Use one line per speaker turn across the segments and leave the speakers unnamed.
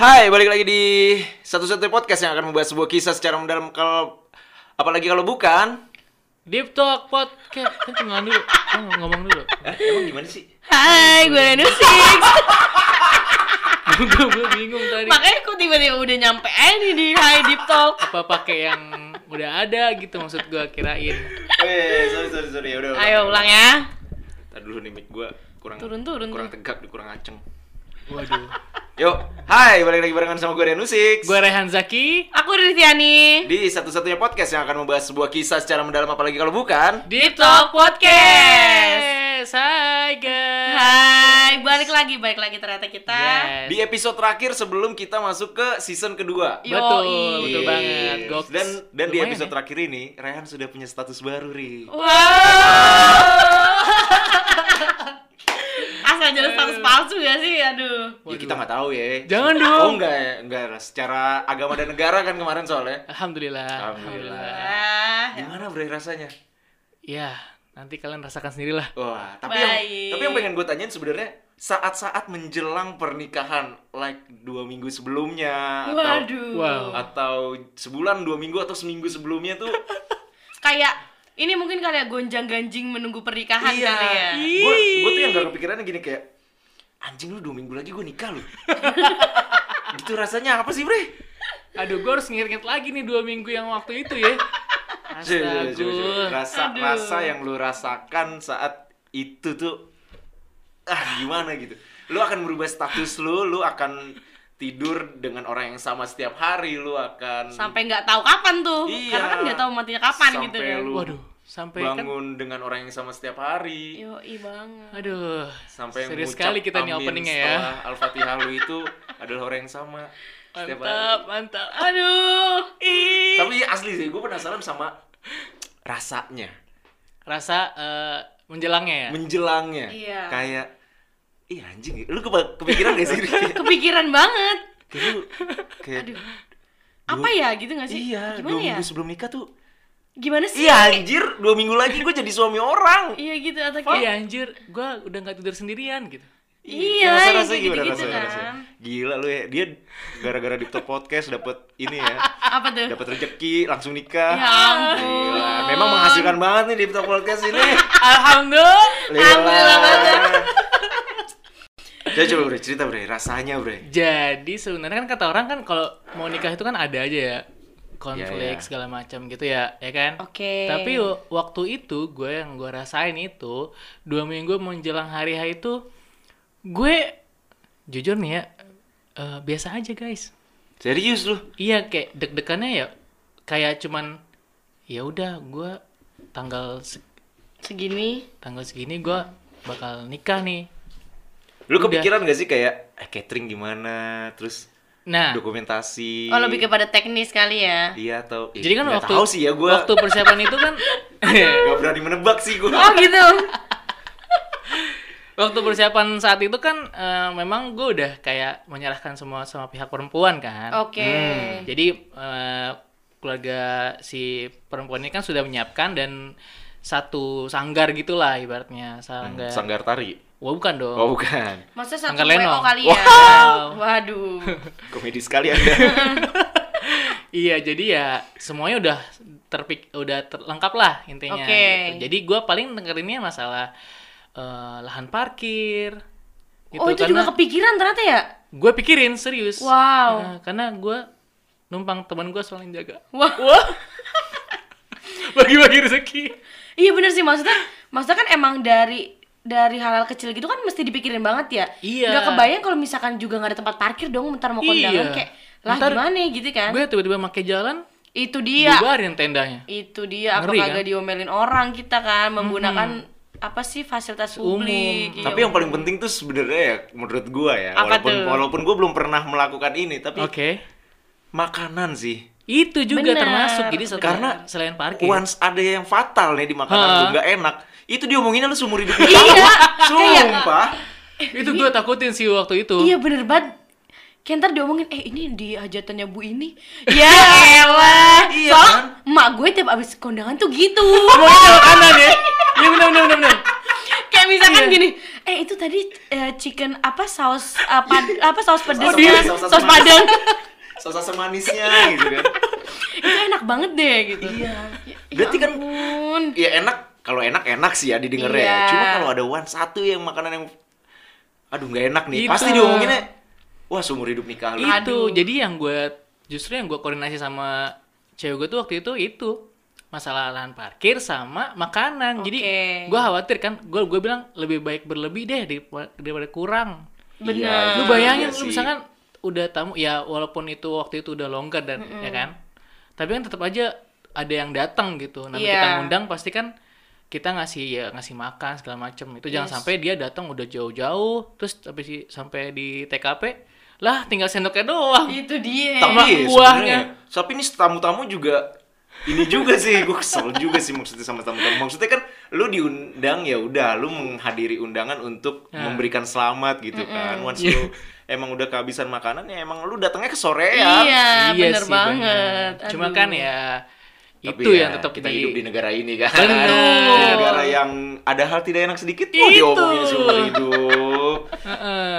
Hai, balik lagi di satu-satunya podcast yang akan membahas sebuah kisah secara mendalam kalau apalagi kalau bukan.
Deep Talk Podcast Kan cuma dulu Kan ngomong dulu
Eh, emang gimana sih?
Hai, gue Renu Six.
Gue gue bingung tadi
Makanya kok tiba-tiba udah nyampe aja nih di Hai Deep Talk.
Apa pakai yang udah ada gitu maksud gue kirain
Eh, sorry sorry sorry, udah. udah.
Ayo ulang ya.
Ntar dulu nih mic gua kurang
Turun, turun,
kurang
turun.
tegak, kurang aceng.
Waduh
Yuk, hai, balik lagi barengan sama gue Renu Six.
Gue Rehan Zaki
Aku Ritiani.
Di satu-satunya podcast yang akan membahas sebuah kisah secara mendalam apalagi kalau bukan.
Deep
Talk Podcast.
Hai guys
Hai, balik lagi, balik lagi ternyata kita.
Yes.
Di episode terakhir sebelum kita masuk ke season kedua.
Yoi.
Betul, betul
Yes.
banget Gok.
Dan dan di
Lumayan
episode
ya.
terakhir ini Rehan sudah punya status baru, Ri.
Wow. Asal jelas status palsu gak sih? Aduh.
Ya kita nggak tahu ya.
Jangan
Oh
dong.
enggak ya, enggak lah. Secara agama dan negara kan kemarin soalnya.
Alhamdulillah
Alhamdulillah.
Wah.
Gimana bre rasanya?
Ya nanti kalian rasakan sendirilah
Wah, tapi yang
Baik.
tapi yang pengen gue tanyain sebenarnya saat-saat menjelang pernikahan, like dua minggu sebelumnya atau
Waduh.
Wow.
atau sebulan dua minggu atau seminggu sebelumnya tuh
Kayak ini mungkin kayak gonjang-ganjing menunggu pernikahan
Iya.
kali ya.
gue gue tuh yang gak kepikiran gini kayak anjing lu dua minggu lagi gue nikah lu gitu rasanya apa sih bre
Aduh gue harus nginget-nginget lagi nih dua minggu yang waktu itu ya
Iya, Coba, coba, coba.
Astaga
rasa
Aduh.
rasa yang lu rasakan saat itu tuh ah gimana gitu lu akan berubah status lu lu akan tidur dengan orang yang sama setiap hari lu akan
Sampai nggak tahu kapan tuh.
Iya.
Karena kan nggak tahu matinya kapan
Sampai
gitu kan.
lu
Waduh sampai kan
bangun dengan orang yang sama setiap hari
Yoi banget.
Aduh,
sampai yang
serius
mengucap
sekali kita nih
amin
openingnya ya.
setelah al-fatihah lu itu adalah orang yang sama setiap hari
Mantap, mantap.
Aduh. Ih.
tapi iya, asli sih gue penasaran sama rasanya
Rasa eh, menjelangnya ya.
menjelangnya
Iya.
kayak iya anjing ya." lu keba- kepikiran gak sih Ri? Kayak-
Kepikiran banget.
kayak lu kayak
Aduh.
Dua-
Apa ya gitu gak sih?
iya dua
Gimana ya?
minggu sebelum nikah tuh
Gimana sih?
iya anjir dua minggu lagi gue jadi suami orang
Iya gitu
Iya
atau kayak
anjir, gua udah nggak tidur sendirian gitu.
Iya,
rasa
yang kayak
gimana
gitu-gitu
rasanya,
kan.
rasanya? gila lu ya dia gara-gara di top podcast dapat ini ya
apa tuh?
dapat rezeki langsung nikah
Ya ampun.
Gila, memang menghasilkan banget nih di top podcast ini
Alhamdulillah.
Alhamdulillah banget.
Jadi coba bre, cerita bre, rasanya bre
Jadi sebenarnya kan kata orang kan kalau mau nikah itu kan ada aja ya konflik
Iya, iya.
segala macam gitu ya, ya kan?
Oke.
Tapi w- waktu itu gue yang gue rasain itu dua minggu menjelang hari H itu gue jujur nih ya eh, biasa aja guys.
Serius lu?
Iya kayak deg-degannya ya kayak cuman ya udah gua tanggal se-
Segini.
tanggal segini gua bakal nikah nih.
Lu
Udah.
kepikiran gak sih kayak eh, catering gimana, terus
Nah,
dokumentasi
Oh lebih kepada teknis kali ya.
Iya atau eh,
jadi kan
nggak
waktu
tahu sih ya gue
waktu persiapan itu kan
Gak berani menebak sih gue
Oh gitu.
waktu persiapan saat itu kan eh, memang gua udah kayak menyerahkan semua sama pihak perempuan kan.
Oke.
Hmm.
Jadi eh, keluarga si perempuan ini kan sudah menyiapkan dan satu sanggar gitulah ibaratnya sanggar.
Hmm, Sanggar tari
Wah bukan dong.
Oh bukan
Maksudnya satu
Angkat Leno.
WO kali ya.
Wow.
Waduh.
Komedi sekali anda
Iya, jadi ya semuanya udah terpik udah ter- lengkap lah intinya.
Oke.
gitu. Jadi gua paling dengerinnya masalah eh, lahan parkir. Gitu,
oh itu juga
karena
kepikiran ternyata ya.
gue pikirin serius.
Wow.
Eh, karena gua numpang teman gua soalnya jaga.
Wah.
Bagi-bagi rezeki.
Iya bener sih maksudnya. Maksudnya kan emang dari dari hal-hal kecil gitu kan mesti dipikirin banget ya.
Iya.
Nggak kebayang kalau misalkan juga nggak ada tempat parkir dong. Bentar mau
Iya.
kondangan kayak lah
Ntar-
gimana gitu kan.
Gue tiba-tiba make jalan,
Itu dia.
bubarin tendanya.
Itu dia apa
Ngeri,
kan?
kagak diomelin orang kita kan menggunakan apa sih fasilitas publik.
Iya,
gitu. Iya,
Tapi yang paling penting tuh sebenarnya ya menurut gue ya
Apa
Walaupun
tuh?
walaupun gue belum pernah melakukan ini Tapi
Oke.
makanan sih
Itu juga
Bener.
termasuk. Jadi satu-
Karena
selain parkir.
Once ada yang fatal nih di makanan
Ha.
tuh nggak enak Itu diomonginnya lu seumur hidup
Iya.
Sumpah
itu gue takutin sih waktu itu.
Iya bener banget. Kayak ntar diomongin, eh ini di hajatannya bu ini Ya elah
Iya,
Soalnya
kan?
emak gue tiap abis kondangan tuh gitu
Ngomongin belok kanan ya. Iya benar benar benar. benar.
Kayak kayak misalkan
Iya.
gini, eh itu tadi eh, chicken apa saus apa apa saus pedas
dia.
saus,
Saus-
saus padang
Sosa semanisnya gitu kan.
itu enak banget deh gitu.
Iya.
Ya,
Berarti kan-
ampun.
Ya enak, kalau enak enak sih ya didengar
Iya.
ya. Cuma kalau ada one satu ya yang makanan yang aduh nggak enak nih.
Gitu.
Pasti diomonginnya wah seumur hidup nikah lu.
itu
Aduh.
jadi yang gue justru yang gue koordinasi sama cewek gue tuh waktu itu itu masalah lahan parkir sama makanan jadi
Oke.
gue khawatir kan gue gue bilang lebih baik berlebih deh daripada, daripada kurang
Bener.
Iya,
lu
iya
bayangin lu
sih.
misalkan udah tamu ya walaupun itu waktu itu udah longgar dan ya kan tapi kan tetap aja ada yang datang gitu nanti
Iya.
kita ngundang pasti kan kita ngasih ya ngasih makan segala macem itu jangan
Yes.
sampai dia datang udah jauh-jauh terus tapi si sampai di TKP lah tinggal sendoknya doang
Itu dia.
Tambah
Tapi
kuahnya.
sebenarnya, tapi ini tamu-tamu juga ini juga sih gue kesel juga sih maksudnya sama tamu-tamu. Maksudnya kan lu diundang ya udah, lu menghadiri undangan untuk
Nah.
memberikan selamat gitu kan. Once lu emang udah kehabisan makanan ya emang lu datangnya ke sore ya.
Iya,
Iya
bener
sih,
banget.
bener. Cuma
Aduh.
kan ya itu yang tetap
ya, kita
di,
hidup di negara ini kan.
Bener.
Di negara yang ada hal tidak enak sedikit mau
Itu.
diomongin seumur hidup.
Heeh.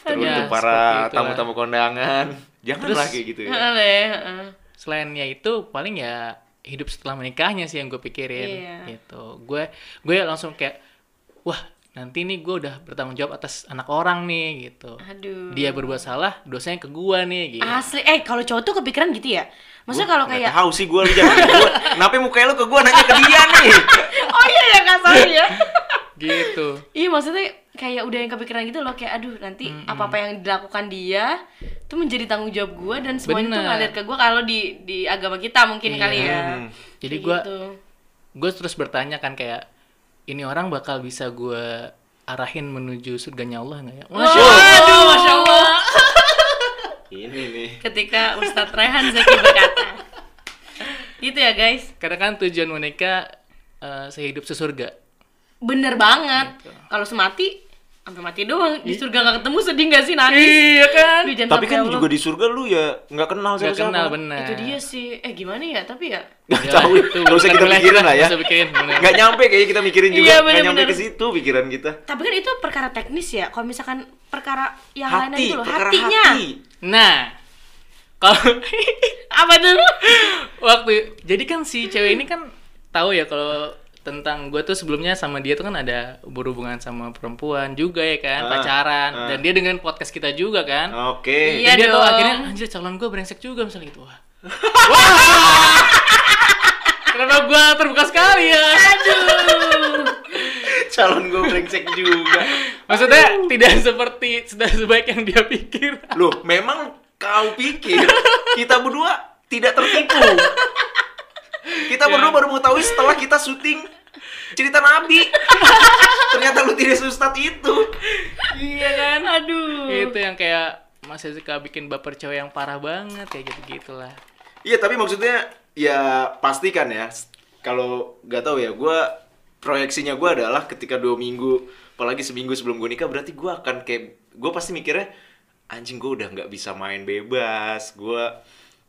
Terus
Ya,
untuk
seperti
para
itulah.
tamu-tamu kondangan, janganlah
Terus-
kayak gitu ya.
Heeh, deh, heeh.
selainnya itu paling ya hidup setelah menikahnya sih yang gue pikirin
Iya.
gitu gue gue langsung kayak wah nanti nih gue udah bertanggung jawab atas anak orang nih gitu
Aduh.
dia berbuat salah dosanya ke gue nih gitu
Asli, eh kalau cowok tuh kepikiran gitu ya? Maksudnya kalau
Nggak
kayak
tahu sih gue lu jangan ke gua. Kenapa mukanya lu ke gue nanya ke dia nih?
Oh iya ya Kak sorry ya
gitu
Iya maksudnya kayak udah yang kepikiran gitu loh Kayak aduh nanti apa-apa yang dilakukan dia Itu menjadi tanggung jawab gue Dan semuanya tuh
Bener.
ngalir ke gue Kalau di, di agama kita mungkin
Iya.
kali ya
Hmm.
Jadi
Kayak
gua-
gitu.
gue terus bertanya kan kayak ini orang bakal bisa gue arahin menuju surganya Allah nggak ya
Oh.
Masya
Waduh, Masya Allah
Ini nih.
Ketika Ustadz Rehan Zaki berkata Gitu ya guys
Karena kan tujuan menikah eh, sehidup sesurga.
Bener banget
Gitu.
Kalau semati Sampai mati doang Di surga gak ketemu sedih gak sih nangis
Iya kan?
Aduh, jangan
Tapi
sampai
kan
Allah.
juga di surga lu ya nggak kenal
Gak
siapa-siapa.
kenal bener.
Itu dia sih Eh gimana ya tapi ya
Nggak tahu itu. Gak usah kita pikirin lah ya.
Gak usah pikirin. bener.
Nggak nyampe kayaknya kita mikirin juga.
Iya,
Nggak nyampe
bener-bener.
ke situ pikiran kita.
Tapi kan itu perkara teknis ya. Kalau misalkan perkara yang lainnya
Hati,
itu gitu loh,
perkara
hatinya.
hati.
Nah, kalau
Apa tuh?
waktu jadi kan si cewek ini kan tahu ya kalau tentang gue tuh sebelumnya sama dia tuh kan ada berhubungan sama perempuan juga ya kan
Ah,
pacaran
ah.
dan dia dengan podcast kita juga kan
Oke.
Iya
Dan dia tuh
dong.
akhirnya anjir calon gue brengsek juga misalnya gitu. Wah. Kenapa gue terbuka sekali ya? Aduh.
Calon gue brengsek juga.
Maksudnya tidak seperti sudah sebaik yang dia pikir.
Loh, memang kau pikir kita berdua tidak tertipu.
Ya.
Kita berdua baru mengetahui setelah kita syuting cerita Nabi. Ternyata lu tidak seustad itu.
iya kan?
Aduh.
Itu yang kayak Mas Ezuka bikin baper cewek yang parah banget kayak gitu-gitulah.
Iya tapi maksudnya ya pastikan ya s- kalau nggak tahu ya gua proyeksinya gua adalah ketika dua minggu apalagi seminggu sebelum gue nikah berarti gua akan kayak gue pasti mikirnya anjing gue udah nggak bisa main bebas gua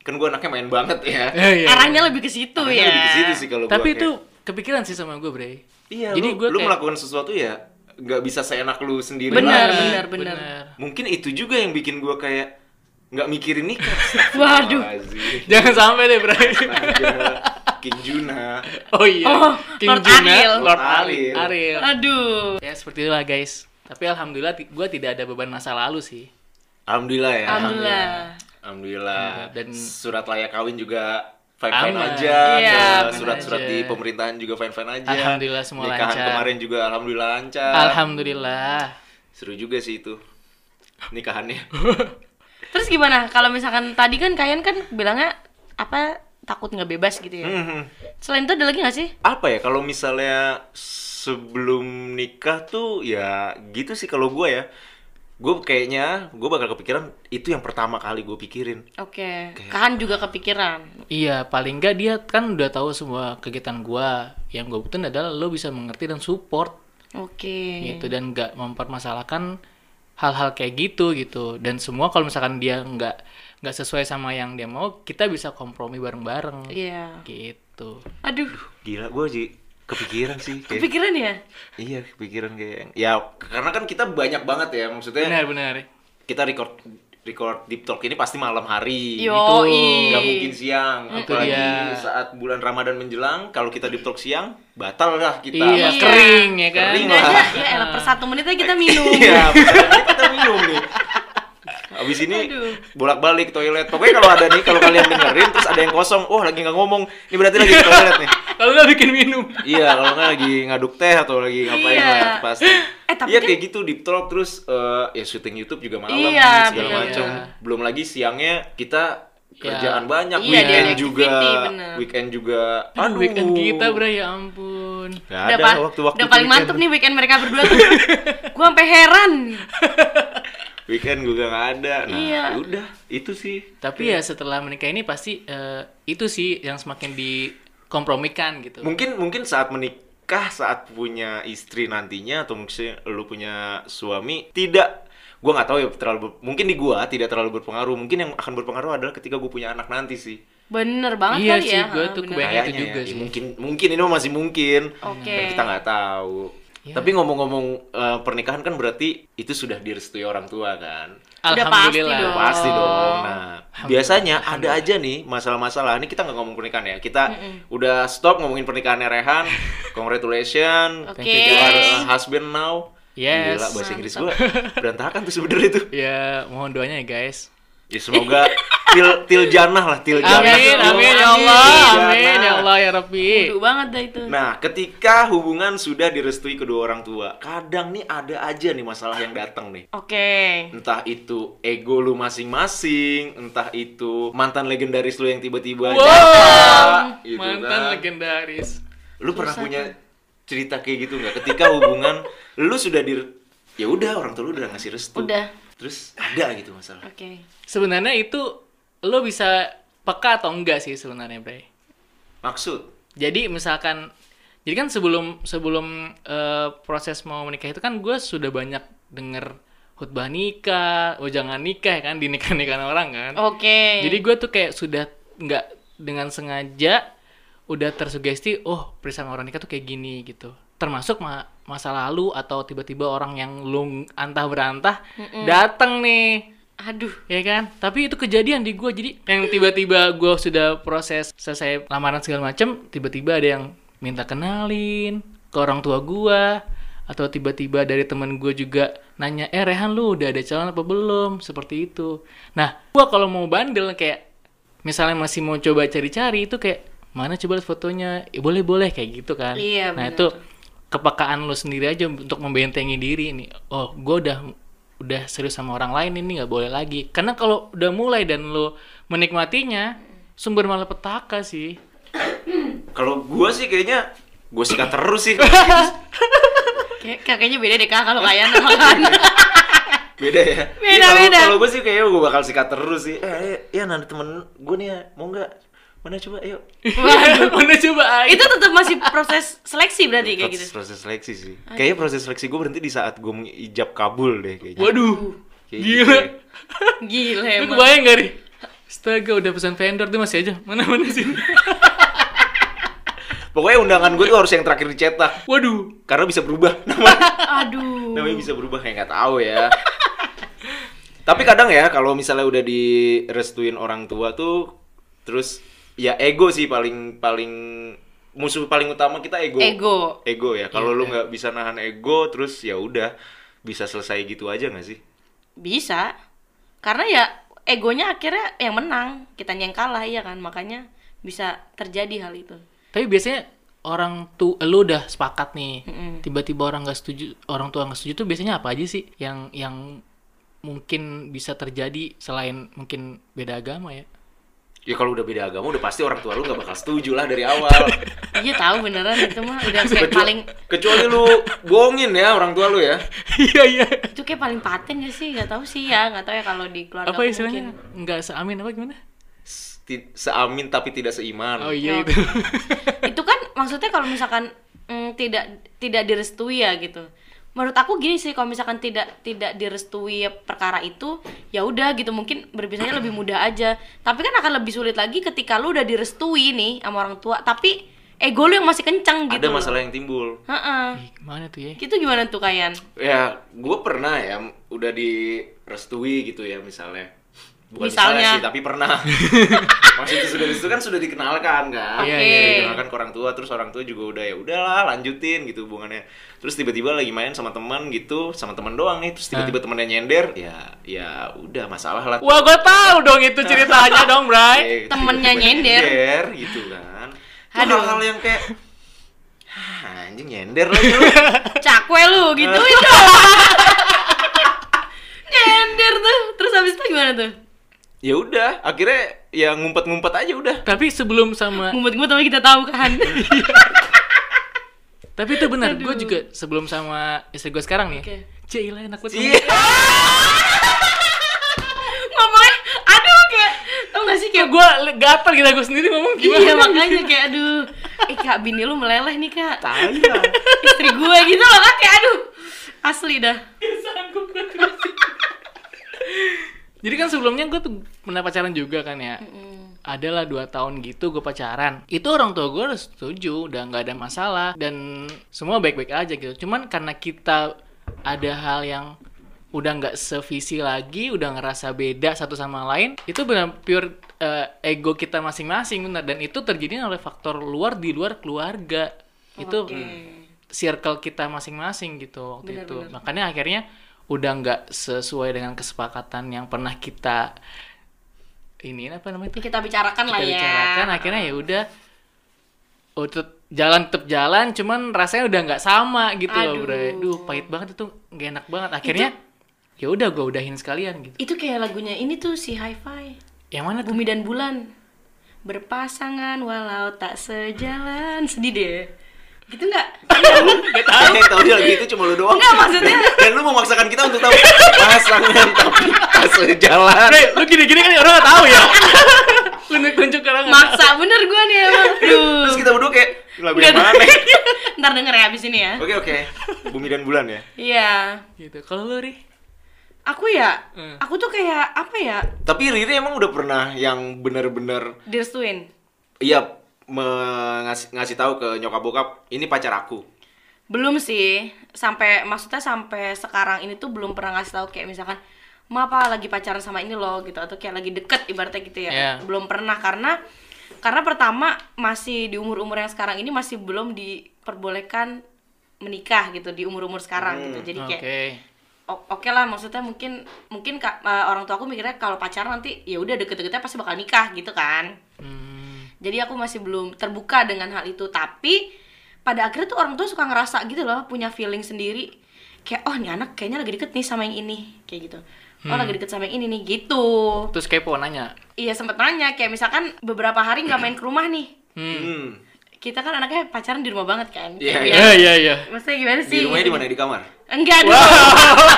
kan gue anaknya main banget ya
Arahnya lebih ke situ
Makanya
ya.
lebih ke situ sih kalau gua
Eh. Tapi
kayak-
itu kepikiran sih sama gue, Bre.
iya
Jadi
jadi
gue
lu, lu melakukan sesuatu ya nggak bisa seenak lu sendiri
Benar,
lagi.
benar, benar.
mungkin itu juga yang bikin gua kayak nggak mikirin nikah
Waduh.
Astagfirullahaladzim.
Jangan sampai deh, Bre.
Naga, King Juna
oh iya.
Oh, Lord Ariel.
Lord Ariel.
Ariel.
Ariel.
Aduh.
Ya seperti itulah guys. Tapi alhamdulillah gue tidak ada beban masa lalu sih.
Alhamdulillah ya.
Alhamdulillah.
Alhamdulillah.
Ya, Dan-
Dan surat layak kawin juga fine fine
Aman.
aja.
Iya,
Ada
fine
Surat-surat
aja.
di pemerintahan juga fine fine aja.
Alhamdulillah semua
Nikahan
lancar.
kemarin juga alhamdulillah lancar.
Alhamdulillah.
Seru juga sih itu nikahannya.
Terus gimana? Kalau misalkan tadi kan kalian kan bilangnya apa takut nggak bebas gitu ya.
Mhm.
Selain itu ada lagi nggak sih?
Apa ya kalau misalnya sebelum nikah tuh ya gitu sih kalau gue ya. Gue kayaknya gue bakal kepikiran itu yang pertama kali gue pikirin.
Oke. Kahan juga kepikiran.
Iya, paling nggak dia kan udah tahu semua kegiatan gua. Yang gua butuhin adalah lo bisa mengerti dan support
Oke.
gitu dan nggak mempermasalahkan hal-hal kayak gitu gitu. Dan semua kalau misalkan dia nggak nggak sesuai sama yang dia mau, kita bisa kompromi bareng-bareng
Iya.
gitu.
Aduh.
Gila gue sih kepikiran sih kayak,
Kepikiran ya?
iya kepikiran kayak ya karena kan kita banyak banget ya maksudnya
benar benar
kita record record deep talk ini pasti malam hari
Yoi.
nggak mungkin siang
Itu
apalagi
dia.
saat bulan ramadan menjelang kalau kita deep talk siang batal lah kita
iya
Iya.
kering ya kan
Kering
Udah
lah.
aja, ya elah per satu menit aja kita minum.
gitu.
Iya, bentar lagi kita minum nih. Abis ini
Aduh.
bolak-balik toilet. Pokoknya kalau ada nih, kalau kalian dengerin terus ada yang kosong, oh lagi nggak ngomong, ini berarti lagi di toilet nih.
kalau nggak bikin minum
Iya, kalau nggak lagi ngaduk teh atau lagi ngapain
Iya.
lah pasti.
Eh, tapi
iya
kan-
kayak gitu deep talk terus eh, ya syuting YouTube juga malam
Iya,
segala
bener.
macam. Belum lagi siangnya kita kerjaan
Iya.
banyak,
Iya,
weekend
daily
juga,
activity, bener.
weekend juga.
aduh
Aduh,
weekend kita bro ya ampun
Nggak
udah,
ada
pa-
waktu-waktu
udah paling
weekend.
mantep nih weekend mereka berdua tuh. Gua sampai heran.
Weekend juga nggak ada. Nah,
Iya.
udah itu sih.
tapi ya setelah menikah ini pasti eh, itu sih yang semakin dikompromikan gitu
mungkin mungkin saat menikah saat punya istri nantinya atau mungkin lu punya suami tidak gua nggak tahu ya terlalu ber- mungkin di gua tidak terlalu berpengaruh mungkin yang akan berpengaruh adalah ketika gua punya anak nanti sih
Bener
Iya
banget kali
sih,
ya.
gua
ha,
tuh
bener.
kebayang- Kayaknya itu juga
Ya,
sih.
mungkin mungkin ini masih mungkin
Oke.
Dan kita nggak tahu
Iya.
tapi ngomong-ngomong eh, pernikahan kan berarti itu sudah direstui orang tua kan
Udah pasti
alhamdulillah
dong.
Pasti dong. Nah,
Oh. Alhamdulillah,
biasanya ada aja nih masalah-masalah. Ini kita nggak ngomong pernikahan ya. Kita udah stop ngomongin pernikahannya Rehan. Congratulations.
Oke.
You are a husband now.
Yes.
Gila, bahasa Inggris gua berantakan tuh sebenernya tuh.
ya mohon doanya ya guys
Ya semoga til til janah lah, til janah.
amin
Til
amin ya
janah.
Allah
Til
amin ya
janah.
Allah ya Rabbi
Bodoh banget dah itu.
Nah, ketika hubungan sudah direstui kedua orang tua, kadang nih ada aja nih masalah yang datang nih.
Oke.
entah itu ego lu masing-masing, entah itu mantan legendaris lu yang tiba-tiba
Wow,
nyata, gitu
mantan
kan.
legendaris
Lu pernah punya cerita kayak gitu nggak? Ketika hubungan lu sudah di ya udah orang tua lu udah ngasih restu.
Udah.
Terus ada gitu masalah.
Oke.
sebenarnya itu lo bisa peka atau enggak sih sebenarnya Bray
Maksud?
jadi misalkan jadi kan sebelum sebelum eh, proses mau menikah itu kan gue sudah banyak denger khutbah nikah oh jangan nikah ya kan dinikah nikahan orang kan
Oke.
jadi gue tuh kayak sudah nggak dengan sengaja udah tersugesti oh peristiwa orang nikah tuh kayak gini gitu termasuk ma- masa lalu atau tiba-tiba orang yang lung antah berantah datang nih
aduh.
ya kan tapi itu kejadian di gua jadi yang tiba-tiba gua sudah proses selesai lamaran segala macem tiba-tiba ada yang minta kenalin ke orang tua gua atau tiba-tiba dari temen gua juga nanya eh Rehan lu udah ada calon apa belum seperti itu nah gua kalau mau bandel kayak misalnya masih mau coba cari-cari itu kayak mana coba lihat fotonya "Eh, boleh boleh kayak gitu kan
Iya,
nah
benar.
itu kepekaan lu sendiri aja untuk membentengi diri ini oh gue udah udah serius sama orang lain ini nggak boleh lagi karena kalau udah mulai dan lu menikmatinya sumber malapetaka sih
Kalau gua sih kayaknya gua sikat terus sih.
Kayak- Kakaknya beda deh kak kalau kayak nama kan.
Beda ya.
Beda,
Iya, kalau-
beda.
Kalau gua sih kayaknya gua bakal sikat terus sih. Eh, eh, ya nanti temen gua nih ya, mau nggak? Mana coba ayo.
mana coba Ai?
itu tetap masih proses seleksi berarti kayak
proses,
gitu.
proses seleksi sih. Kayaknya proses seleksi gue berhenti di saat gue mengijab kabul deh kayaknya.
waduh
Kayak gitu
gila
Gila
lu
emang.
kebayang gak nih Astaga udah pesan vendor tuh masih aja mana mana sih
ya. Pokoknya undangan gue tuh harus yang terakhir dicetak
waduh
karena bisa berubah namanya.
Aduh.
namanya bisa berubah kayak nggak tahu ya. Tapi kadang ya kalau misalnya udah direstuin orang tua tuh terus ya ego sih paling paling musuh paling utama kita ego.
Ego. Iya,
Ego ya. Kalau lu nggak bisa nahan ego terus ya udah bisa selesai gitu aja nggak sih?
Bisa. Karena ya egonya akhirnya yang menang, kitanya yang kalah ya kan. Makanya bisa terjadi hal itu.
Tapi biasanya orang tuh lu udah sepakat nih.
Mm-mm.
Tiba-tiba orang nggak setuju, orang tua nggak setuju tuh biasanya apa aja sih yang yang mungkin bisa terjadi selain mungkin beda agama ya?
Ya kalau udah beda agama udah pasti orang tua lu nggak bakal setuju lah dari awal.
Iya tahu beneran itu mah udah
Kecuali,
kayak paling
kecuali lu bohongin ya orang tua lu ya.
Iya iya.
itu kayak paling paten gak sih? Gak tahu sih ya, gak tahu ya kalau di keluarga
Apa
aku
istilahnya?
mungkin.
Nggak seamin apa gimana?
Ti- Seamin tapi tidak seiman.
Oh iya
Ya.
itu.
Itu kan maksudnya kalau misalkan mm, tidak tidak direstui ya gitu. Menurut aku gini sih kalau misalkan tidak tidak direstui perkara itu, ya udah gitu mungkin berpisahnya lebih mudah aja. Tapi kan akan lebih sulit lagi ketika lu udah direstui nih sama orang tua, tapi ego lu yang masih kencang gitu
ada masalah yang timbul
Heeh.
Ih, Gimana tuh ya?
Gitu gimana tuh Kayan?
ya gue pernah ya m- udah direstui gitu ya misalnya bukan misalnya,
Misalnya.
sih tapi pernah maksudnya sudah itu kan sudah dikenalkan kan
Iya,
iya, iya.
dikenalkan ke orang tua terus orang tua juga udah ya udahlah lanjutin gitu hubungannya terus tiba-tiba lagi main sama teman gitu sama teman doang nih terus tiba-tiba temannya nyender ya ya udah masalah lah
Wah, gue tahu dong itu ceritanya dong,
Eh,
Bray.
temennya
tiba-tiba
nyender.
nyender gitu kan Itu
Aduh.
hal-hal yang kayak "Hah, anjing nyender lagi lu."
Cakwe lu gitu itu. Nyender tuh. Terus habis itu gimana tuh?
ya udah akhirnya ya ngumpet-ngumpet aja udah
Tapi sebelum sama
Mumet-mumet tapi kita tahu kan.
Tapi itu benar, gue
Aduh.
juga sebelum sama istri gue sekarang nih.
Oke.
ya Cila enak banget.
Iya.
Ngomongnya aduh kayak tau gak sih kayak
Kayak gue gatal gitu gue sendiri ngomong gimana.
Iya makanya kayak aduh Eh kak bini lu meleleh nih kak
tai
Iya,
lah
Istri gue gitu loh kan kayak aduh Asli dah
Jadi kan sebelumnya gue tuh pernah pacaran juga kan ya. Adalah dua tahun gitu gue pacaran. Itu orang tua gue udah setuju, udah nggak ada masalah dan semua baik-baik aja gitu. Cuman karena kita ada hal yang udah nggak sevisi lagi, udah ngerasa beda satu sama lain, itu benar pure eh, ego kita masing-masing benar dan itu terjadi oleh faktor luar di luar keluarga. Itu circle kita masing-masing gitu waktu itu. Makanya akhirnya udah nggak sesuai dengan kesepakatan yang pernah kita ini apa namanya itu
Ini kita bicarakan
kita
lah ya
bicarakan. Akhirnya ya udah oh, tetep jalan tetap jalan, cuman rasanya udah nggak sama gitu loh, bro.
Aduh.
Duh, pahit banget itu, nggak enak banget. Akhirnya ya udah gue udahin sekalian gitu.
Itu kayak lagunya ini tuh si hi-fi
Yang mana tuh?
Bumi dan bulan Berpasangan walau tak sejalan Sedih deh Gitu gak?
Gak tau Tau dia lagu itu cuma lu doang
Enggak, maksudnya-
Dan lu memaksakan kita untuk tahu Pasangan tapi pas jalan
Bro, lu gini-gini kan orang nggak tahu ya. lu nunjuk orang nggak tahu.
Maksa bener gue nih emang Aduh.
Terus kita berdua kayak Lagu yang mana
Ntar denger ya abis ini ya
Oke oke Bumi dan bulan ya
Iya
Gitu. Kalau lu ri,
Aku ya
Hmm.
Aku tuh kayak apa ya
Tapi Riri emang udah pernah yang bener-bener
Direstuin
Iya mengasih ngasih tahu ke nyokap bokap ini pacar aku
Belum sih, sampai maksudnya sampai sekarang ini tuh belum pernah ngasih tahu kayak misalkan Ma apa lagi pacaran sama ini loh gitu atau kayak lagi deket ibaratnya gitu ya.
Iya.
Belum pernah karena karena pertama masih di umur-umur yang sekarang ini masih belum diperbolehkan menikah gitu di umur-umur sekarang gitu. Jadi
Hmm, Oke.
kayak o- oke lah maksudnya mungkin mungkin ka- eh, orang tua aku mikirnya kalau pacaran nanti ya udah deket-deketnya pasti bakal nikah gitu kan.
Hmm,
Jadi aku masih belum terbuka dengan hal itu, tapi pada akhirnya tuh orang tua suka ngerasa gitu loh, punya feeling sendiri kayak oh nih anak kayaknya lagi deket nih sama yang ini kayak gitu. Oh
Hmm.
lagi deket sama yang ini nih gitu.
terus kepo nanya.
Iya sempet nanya kayak misalkan beberapa hari nggak main ke rumah nih.
hmm.
Kita kan anaknya pacaran di rumah banget kan.
Iya,
Kayak,
Iya, iya, iya.
Maksudnya gimana sih?
di rumahnya di mana di kamar
Enggak dong.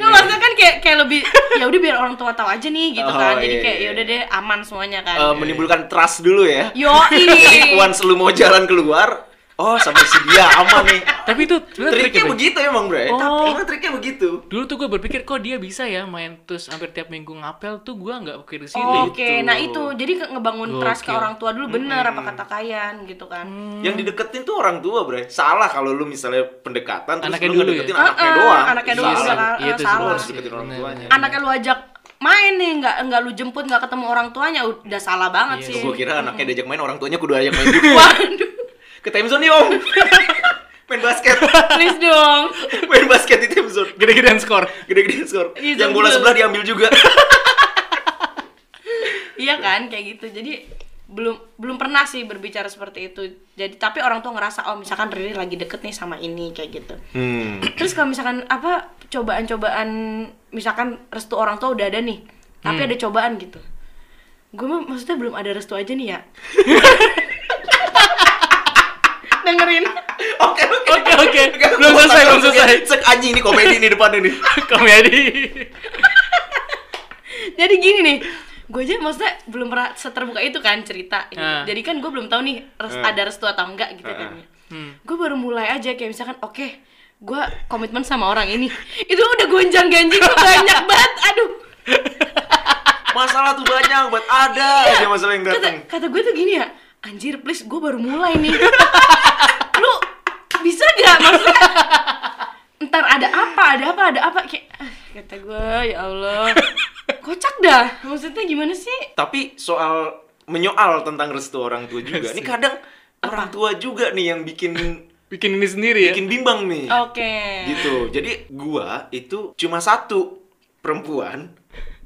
Nggak, maksudnya kan kayak kayak lebih ya udah biar orang tua tahu aja nih gitu
Oh,
kan. Jadi
iya,
kayak
iya.
ya udah deh aman semuanya kan.
Eh, menimbulkan trust dulu ya
Yo
jadi
ini.
once lu mau jalan keluar oh sampai si dia aman nih
Tapi itu sebenarnya trik ya,
triknya
Bray.
begitu emang bre
Oh.
tapi emang triknya begitu
Dulu tuh gue berpikir kok dia bisa ya main terus hampir tiap minggu ngapel tuh gue nggak pikir sih
Oh,
Iya
gitu.
Oke, nah itu jadi ke- ngebangun trust ke
Gokil.
orang tua dulu bener apa kata Kayan gitu kan.
Yang dideketin tuh orang tua, Bre. Salah kalau lu misalnya pendekatan terus
Anaknya
lu
dulu
ngedeketin
ya?
anaknya
Heeh,
doang.
anaknya doang,
Salah.
salah.
Iya itu
Salah.
Lu
salah.
harus deketin orang tuanya.
Anaknya lu ajak main nih, nggak nggak lu jemput, nggak ketemu orang tuanya udah salah banget sih.
Gua kira anaknya diajak main orang tuanya kudu ajak main juga.
Waduh,
Ke time zone nih, Om. main basket.
please dong.
main basket di time zone.
Gede-gedean skor.
Gede-gede skor.
Iya,
Yang bola
betul.
sebelah diambil juga.
Iya kan kayak gitu. Jadi belum belum pernah sih berbicara seperti itu. Jadi tapi orang tua ngerasa oh misalkan Riri lagi deket nih sama ini kayak gitu.
Hmm.
Terus kalau misalkan apa cobaan-cobaan misalkan restu orang tua udah ada nih, tapi ada cobaan gitu. Gue mah maksudnya belum ada restu aja nih ya. Dengerin.
Oke, oke.
Oke oke.
Oke,
Belum selesai belum
langsung
selesai.
ya. Sek anjing ini komedi ini depan ini.
Komedi.
Jadi gini nih, gue aja maksudnya belum pernah seterbuka itu kan cerita.
Ah.
Jadi kan gue belum tahu nih res-
Ah.
ada restu atau enggak gitu kan.
Ah.
Hmm.
Gue baru mulai aja kayak misalkan oke, gue komitmen sama orang ini. Itu udah gonjang-ganjing tuh banyak banget. Aduh.
Iya, Masalah tuh banyak buat ada aja masalah yang
kata,
datang.
kata gue tuh gini ya anjir please gue baru mulai nih lu bisa gak maksudnya ntar ada apa ada apa ada apa kayak ah, kata gue ya allah kocak dah maksudnya gimana sih
Tapi soal menyoal tentang restu orang tua juga. Ini kadang orang tua juga nih yang bikin
Bikin ini sendiri ya.
bikin bimbang nih.
oke
Gitu. Jadi gua itu cuma satu perempuan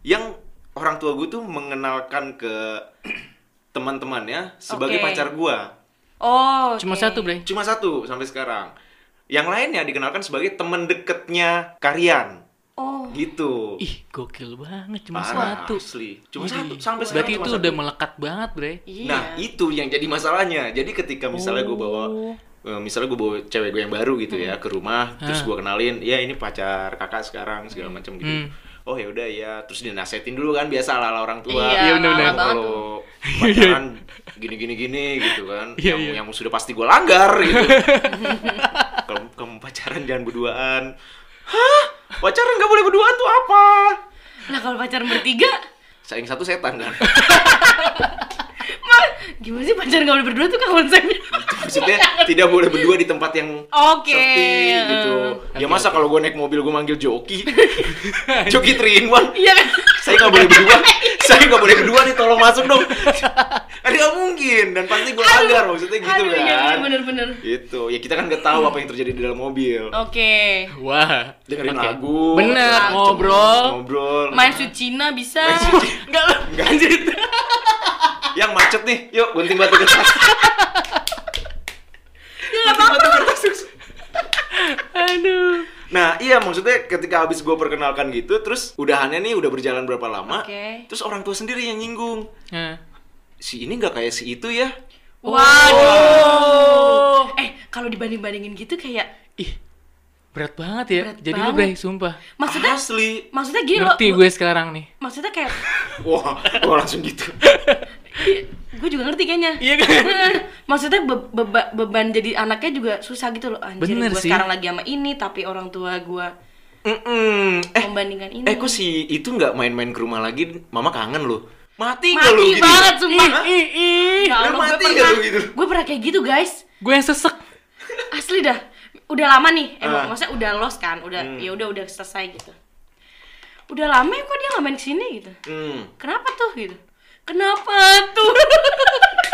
yang orang tua gua tuh mengenalkan ke teman-temannya sebagai
Oke.
pacar gua.
oh
Cuma
oke.
satu, Bre.
Cuma satu sampai sekarang. Yang lainnya dikenalkan sebagai teman deketnya Karian.
oh
Gitu.
Ih, gokil banget cuma
Parah,
satu.
asli. Cuma
Ih,
satu sampai sekarang.
Berarti
cuma
itu
satu.
udah melekat banget, Bre.
iya
Nah, itu yang jadi masalahnya. Jadi ketika misalnya gue bawa
Oh. Hmm.
eh, misalnya gue bawa cewek gue yang baru gitu ya ke rumah, terus
Hah.
gue kenalin, ya ini pacar kakak sekarang segala macam gitu.
Hmm.
Oh ya udah ya, terus dia nasetin dulu kan biasa ala orang tua.
Iya, Iya, bener-bener. ala-ala banget
Kalau pacaran gini gini gini gitu kan,
Iya,
yang
iya.
yang sudah pasti gue langgar gitu. Kalau kamu pacaran jangan berduaan. Hah? Pacaran gak boleh berduaan tuh apa?
lah kalau pacaran bertiga
Saing satu setan kan.
mah gimana sih pacaran gak boleh berdua tuh kan konsepnya
maksudnya tidak boleh berdua di tempat yang
Oke.
sepi gitu. Ya
Oke,
masa kalau gue naik mobil gue manggil joki, joki three in one.
iya kan
Saya nggak boleh berdua, saya nggak boleh berdua nih, tolong masuk dong. Kan nggak mungkin dan pasti gue langgar maksudnya gitu
aduh iya
kan.
iya, bener-bener
Gitu. Ya kita kan nggak tahu apa yang terjadi di dalam mobil.
Oke.
Wah,
Dengerin
Oh. oke.
lagu.
Bener,
macem-
ngobrol.
Ngobrol.
Main suit Cina bisa.
Main suit Cina.
Enggak lah.
Nggak. Yang macet nih, yuk gunting batu kertas.
Ya,
Gunting batu kertas.
Aduh.
Nah iya maksudnya ketika habis gue perkenalkan gitu Terus udahannya nih udah berjalan berapa lama
Oke.
Terus orang tua sendiri yang nyinggung
Nah.
Si ini gak kayak si itu ya
Oh.
Waduh. Eh, kalau dibanding-bandingin gitu kayak
Ih, berat banget ya.
Berat
Jadi lu,
banget. Iya,
Bre, sumpah.
maksudnya
Asli
maksudnya gini loh.
Ngerti gue sekarang nih.
Maksudnya kayak
Wah gua langsung gitu
gue juga ngerti kayaknya.
Iya kan?
maksudnya be- beba- beban jadi anaknya juga susah gitu loh. Anjir,
Bener
gue
sih.
sekarang lagi sama ini tapi orang tua gue
Mm-mm. Eh,
membandingkan ini.
eh kok si itu gak main-main ke rumah lagi Mama kangen loh Mati gak
Mati
lu gitu
banget sumpah.
Ih, ih.
Ya
Lu
Allah,
mati gak
gue pernah,
lu gitu?
gue pernah kayak gitu guys.
Gue yang sesek.
asli dah udah lama nih
Ah.
emang maksudnya udah los kan udah
Hmm.
ya udah udah selesai gitu udah lama ya kok dia nggak main kesini gitu
Hmm.
kenapa tuh gitu kenapa tuh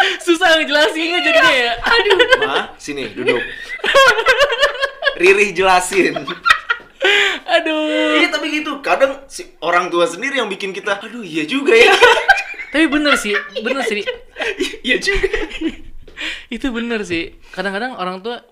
Iya.
Susah ngejelasinnya jadinya ya.
aduh
Ma, sini duduk Riri jelasin
Aduh.
Iya tapi gitu, kadang si orang tua sendiri yang bikin kita Aduh iya juga ya
Tapi bener sih, bener sih. Di.
Iya juga
Itu bener sih. Kadang-kadang orang tua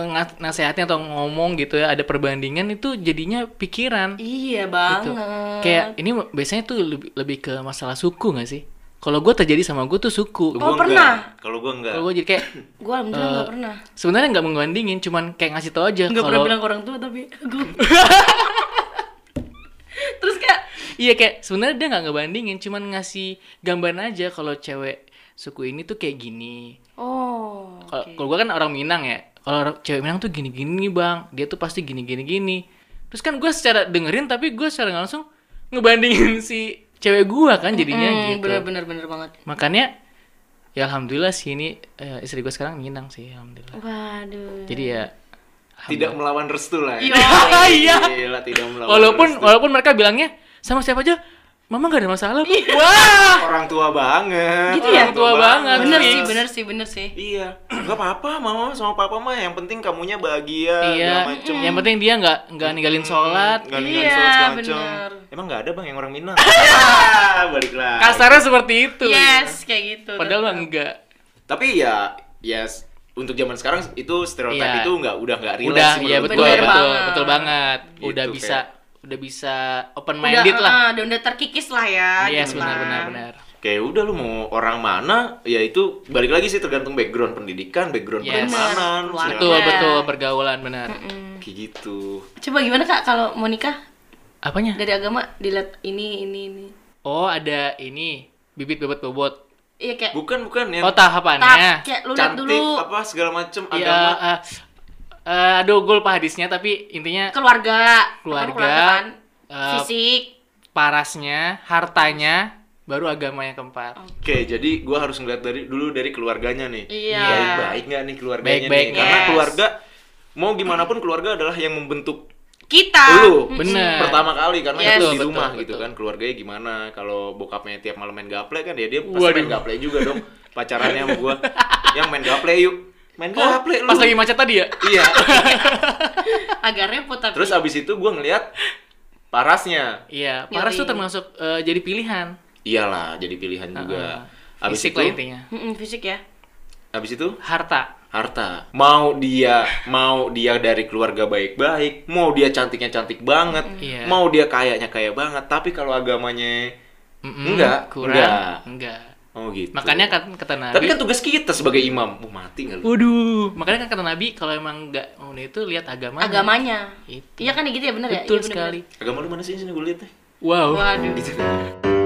eh, nga- nasehatnya atau ngomong gitu ya ada perbandingan itu jadinya pikiran
iya
gitu.
banget
Kayak ini biasanya tuh lebih, lebih ke masalah suku gak sih? Kalau gue terjadi sama gue tuh suku.
Oh,
Gua enggak.
pernah?
Kalau gua enggak.
Kalau gue jadi kayak
gue alhamdulillah nggak
Eh,
pernah
sebenarnya nggak menggandingin, cuman kayak ngasih tau aja
nggak pernah
kalau
bilang ke orang tua tapi gue terus kayak
Iya kayak sebenarnya dia nggak ngebandingin, cuman ngasih gambaran aja kalau cewek suku ini tuh kayak gini.
oh
Kalau
oke.
kalau gua kan orang Minang ya, kalau orang- cewek Minang tuh gini-gini bang, dia tuh pasti gini-gini gini. Terus kan gue secara dengerin tapi gue secara nggak langsung ngebandingin si cewek gua kan jadinya gitu.
Hmm, bener bener bener banget
Makanya ya alhamdulillah sih ini eh, istri gue sekarang Minang sih alhamdulillah.
waduh
Jadi ya
tidak melawan restu lah.
Iya.
Ya.
iya.
Gila, tidak melawan.
Walaupun
restu.
walaupun mereka bilangnya sama siapa aja, mama gak ada masalah.
Iya.
Wah.
orang tua banget.
Gitu ya?
orang
Tua banget.
bener sih
Yes.
bener sih bener sih
Iya. Enggak apa-apa, mama sama papa mah yang penting kamunya bahagia
Iya,
segala macem.
yang penting dia nggak nggak ninggalin sholat.
Nggak ninggalin
Iya,
sholat segala macem.
bener.
Emang nggak ada Bang yang orang Minang. Ah, Balik lagi.
Kasarnya seperti itu.
yes kayak gitu
ya. Padahal mah enggak.
Tapi ya, yes untuk zaman sekarang itu stereotip
Iya.
itu nggak udah nggak relate
Udah,
sih
ya
menurut
betul,
gua
Bener
betul,
ya.
betul,
banget.
banget. Udah
Gitu,
bisa,
kayak-
udah bisa open
udah,
minded lah.
ah, udah, udah terkikis lah ya
Yes,
gitu
benar,
lah.
benar, benar.
Kayak udah lu mau orang mana, ya itu balik lagi sih tergantung background pendidikan, background
Yes.
pertemanan,
Bener.
segala
Betul,
Iya.
betul, pergaulan benar.
Kayak gitu.
Mm. coba gimana kak kalau mau nikah
Apanya?
dari agama dilihat ini ini ini
Oh, ada ini bibit bebet bobot.
iya kayak
Bukan bukan yang
Oh, tahapannya.
tap kayak lu lihat
cantik
dulu
apa segala macem
Iya,
agama.
eh, eh, aduh, gue lupa hadisnya tapi intinya
keluarga Apa
Keluarga,
keluarga kan?
eh,
fisik
parasnya, hartanya, baru agama yang keempat.
Oke, jadi gua harus ngeliat dari dulu dari keluarganya nih.
Iya.
Baik-baik nggak nih keluarganya
Baik-baik.
nih? Karena
Yes.
keluarga mau gimana pun keluarga adalah yang membentuk
Kita. Mm,
lu
iya.
Bener.
pertama kali karena
Yes.
itu di
Betul,
rumah
betul,
gitu
betul.
kan keluarganya gimana kalau bokapnya tiap malam main gaple kan ya dia pasti
Waduh.
main gaple juga dong pacarannya sama gua yang main gaple yuk main
Oh,
gaple lu
pas lagi macet tadi ya?
iya
Agak repot tapi.
terus abis itu gua ngeliat parasnya
Iya,
Ngeri.
Paras tuh termasuk eh, jadi pilihan.
iyalah jadi pilihan juga
Heeh.
abis
Ah, Fisik
itu
lah intinya.
Mm-mm, fisik ya.
abis itu
Harta.
harta mau dia mau dia dari keluarga baik-baik mau dia cantiknya cantik banget
Iya.
mau dia kayaknya kaya banget tapi kalau agamanya
Mm-mm,
Enggak,
kurang.
enggak.
enggak.
oh gitu
Makanya kan kata Nabi.
Tapi kan tugas kita sebagai imam. Mau mati nggak lu?
Waduh, makanya kan kata Nabi kalau emang enggak mau itu lihat agama.
Agamanya.
Itu.
Iya kan ya gitu ya bener ya?
Betul
Iya, bener-bener.
sekali.
Agama lu mana sih sini gue liat deh.
Wow.
Waduh.
Gitu.